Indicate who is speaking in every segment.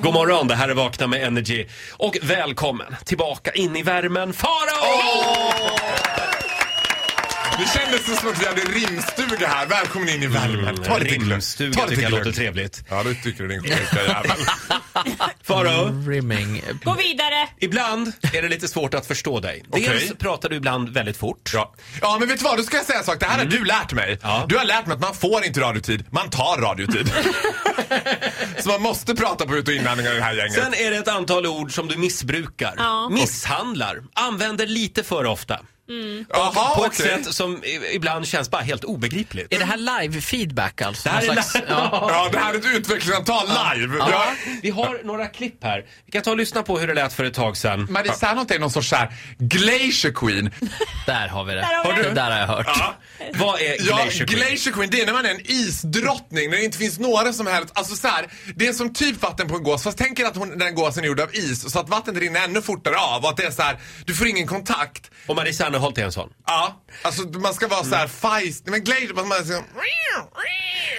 Speaker 1: God morgon, det här är Vakna med Energy. Och välkommen tillbaka in i värmen, Farao!
Speaker 2: Det kändes som att vi hade rimstuga här. Välkommen in i värmen. Ta lite glögg.
Speaker 1: Mm, Rimstuga
Speaker 2: Ta lite
Speaker 1: tycker jag
Speaker 2: glögg.
Speaker 1: låter trevligt.
Speaker 2: Ja, du tycker du din sjuka jävel. Mm.
Speaker 1: Farao,
Speaker 3: Rimming.
Speaker 4: Gå vidare!
Speaker 1: ibland är det lite svårt att förstå dig. Dels
Speaker 2: Okej.
Speaker 1: pratar du ibland väldigt fort.
Speaker 2: Ja. ja, men vet du vad? Du ska jag säga en sak. Det här har du lärt mig.
Speaker 1: Mm. Ja.
Speaker 2: Du har lärt mig att man får inte radiotid, man tar radiotid. Så man måste prata på ut och inandning av det här gänget.
Speaker 1: Sen är det ett antal ord som du missbrukar,
Speaker 4: Ja.
Speaker 1: misshandlar, använder lite för ofta.
Speaker 2: Jaha,
Speaker 1: På ett
Speaker 2: okej.
Speaker 1: sätt som i- ibland känns bara helt obegripligt.
Speaker 3: Är det här live-feedback alltså?
Speaker 1: Det här
Speaker 3: Någon
Speaker 1: är
Speaker 3: slags-
Speaker 1: live.
Speaker 3: ja.
Speaker 2: Ja, det här är ett utvecklingssamtal live. Ja.
Speaker 1: Vi har några klipp här. Vi kan ta och lyssna på hur det lät för ett tag sedan.
Speaker 2: Marie Serneholt är någon sorts så här glacier queen.
Speaker 3: Där har vi det.
Speaker 4: Där har vi Har det. du?
Speaker 3: Det där har jag hört.
Speaker 1: Vad är
Speaker 2: Ja,
Speaker 1: Glacier Queen?
Speaker 2: Glacier Queen, det är när man är en isdrottning när det inte finns några som helst, alltså så här, det är som typ vatten på en gås fast tänk er att hon, den gåsen är gjord av is så att vattnet rinner ännu fortare av och att det är så här, du får ingen kontakt.
Speaker 1: Och Marie Serneholt är en sån.
Speaker 2: Ja, alltså man ska vara så
Speaker 1: Mm.
Speaker 2: här feist, men Glacier, man man ska,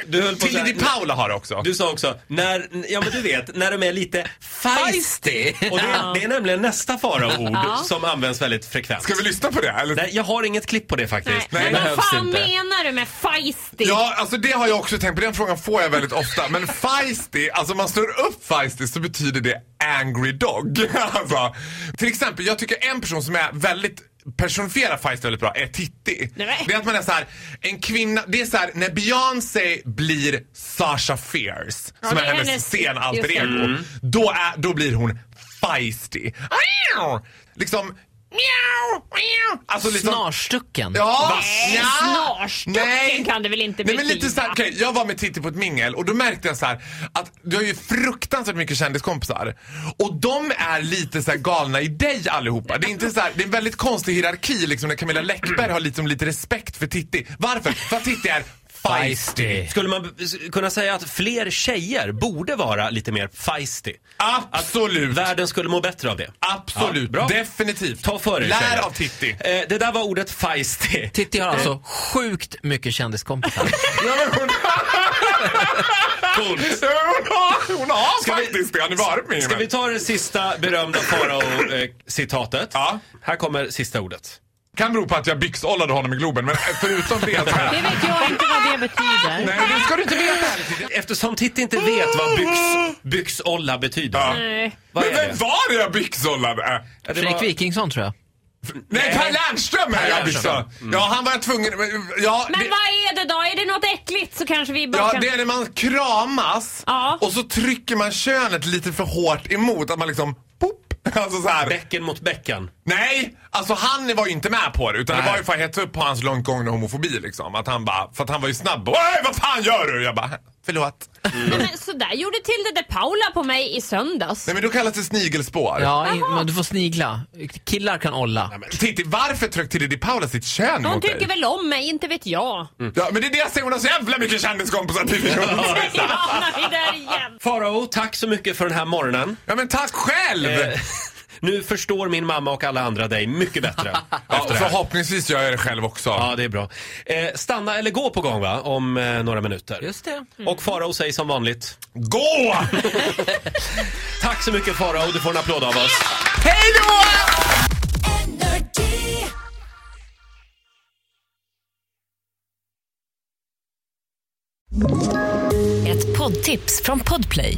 Speaker 1: Du höll på så
Speaker 2: Tilly
Speaker 1: här-
Speaker 2: Di Paula har det också.
Speaker 1: Du sa också, när, ja men du vet, när de är lite feisty. Och det, är- det är nämligen nästa faraoord som används väldigt frekvent.
Speaker 2: Ska vi lyssna på det? Eller?
Speaker 1: Nej, jag har inget klipp på det faktiskt.
Speaker 4: Nej, men vad
Speaker 3: behövs
Speaker 4: fan
Speaker 3: inte.
Speaker 4: menar du med feisty?
Speaker 2: Ja, alltså det har jag också tänkt på. Den frågan får jag väldigt ofta. Men feisty, alltså om man slår upp feisty så betyder det angry dog. Alltså, till exempel, jag tycker en person som är väldigt personifierar feisty väldigt bra är Titti.
Speaker 4: Nej, men.
Speaker 2: Det är att man är så här, en kvinna, det är så här när Beyoncé blir Sasha Fierce,
Speaker 4: Ja,
Speaker 2: som är
Speaker 4: det är
Speaker 2: hennes,
Speaker 4: hennes-
Speaker 2: scenalter
Speaker 4: just det.
Speaker 2: ego, då, är, då blir hon feisty. Liksom, miau, miau. Alltså, liksom-
Speaker 3: Snarstucken.
Speaker 2: Ja,
Speaker 4: Nej,
Speaker 2: nja.
Speaker 4: snarstucken kan det väl inte
Speaker 2: Nej, men lite
Speaker 4: betyda.
Speaker 2: så här, okej, Jag var med Titti på ett mingel och då märkte jag så här att du har ju fruktansvärt mycket kändiskompisar. Och de är lite så här galna i dig allihopa. Det är, inte så här, det är en väldigt konstig hierarki liksom, när Camilla Läckberg har liksom lite respekt för Titti. Varför? För att Titti är feisty.
Speaker 1: Skulle man b- s- kunna säga att fler tjejer borde vara lite mer feisty?
Speaker 2: Absolut.
Speaker 1: Världen skulle må bättre av det.
Speaker 2: Absolut.
Speaker 1: Ja, bra.
Speaker 2: Definitivt.
Speaker 1: Ta för er
Speaker 2: Lär
Speaker 1: tjejer.
Speaker 2: av Titti.
Speaker 1: Eh, det där var ordet feisty.
Speaker 3: Titti har alltså sjukt mycket kändiskompisar.
Speaker 1: Coolt.
Speaker 2: Hon har, hon har
Speaker 1: Ska vi-
Speaker 2: faktiskt det. Har ni varit med
Speaker 1: Ska vi ta det sista berömda farao-citatet?
Speaker 2: Ja.
Speaker 1: Här kommer sista ordet.
Speaker 2: Kan bero på att jag byxollade honom i Globen, men förutom det så här.
Speaker 5: Det vet jag inte vad det betyder.
Speaker 2: Nej, det ska du inte veta heller. Titti.
Speaker 1: Eftersom Titti inte vet vad byx, byxolla betyder.
Speaker 2: Ja.
Speaker 4: Nej.
Speaker 1: Vad
Speaker 2: Men
Speaker 1: är
Speaker 2: vem
Speaker 1: det?
Speaker 2: var det jag byxollade?
Speaker 1: Ja, det
Speaker 3: Fredrik
Speaker 1: var-
Speaker 3: Wikingsson tror jag.
Speaker 2: Nej, Per Lernström är jag
Speaker 3: Lernström.
Speaker 2: byxollade. Ja, han var jag tvungen... Ja,
Speaker 4: Men
Speaker 2: det,
Speaker 4: vad är det då? Är det något äckligt så kanske vi bara
Speaker 2: ja,
Speaker 4: kan...
Speaker 2: det är när man kramas
Speaker 4: Ja.
Speaker 2: och så trycker man könet lite för hårt emot. Att man liksom... Pop. Alltså så här.
Speaker 1: Bäcken mot bäcken.
Speaker 2: Nej, alltså han var ju inte med på det. Utan
Speaker 1: Nej.
Speaker 2: det var ju för att hetsa upp på hans långt gångna homofobi liksom. Att han bara, för att han var ju snabb. Och, "Ey, vad fan gör du? Jag bara, förlåt.
Speaker 4: Nej, men sådär gjorde Tilde de Paula på mig i söndags.
Speaker 2: Nej men då kallas det snigelspår.
Speaker 3: Ja, in, men du får snigla. Killar kan olla.
Speaker 2: Titti, varför tryckte Diddy Paula sitt kön
Speaker 4: Hon
Speaker 2: mot dig?
Speaker 4: tycker väl om mig, inte vet jag.
Speaker 2: Ja, men det är det jag säger. Hon har så jävla mycket kändiskompisar. Titti Jonsson.
Speaker 4: Nu hamnar vi där igen.
Speaker 1: Farao, tack så mycket för den här morgonen.
Speaker 2: Ja men tack själv!
Speaker 1: Eh, nu förstår min mamma och alla andra dig mycket bättre.
Speaker 2: ja,
Speaker 1: efter det här.
Speaker 2: förhoppningsvis gör jag det själv också.
Speaker 1: Ja, det är bra. Eh, stanna eller gå på gång va? om eh, några minuter.
Speaker 3: Just det.
Speaker 1: Och Farao säger som vanligt.
Speaker 2: Gå!
Speaker 1: Tack så mycket Farao, du får en applåd av oss.
Speaker 2: Hej då!
Speaker 6: Ett poddtips från Podplay.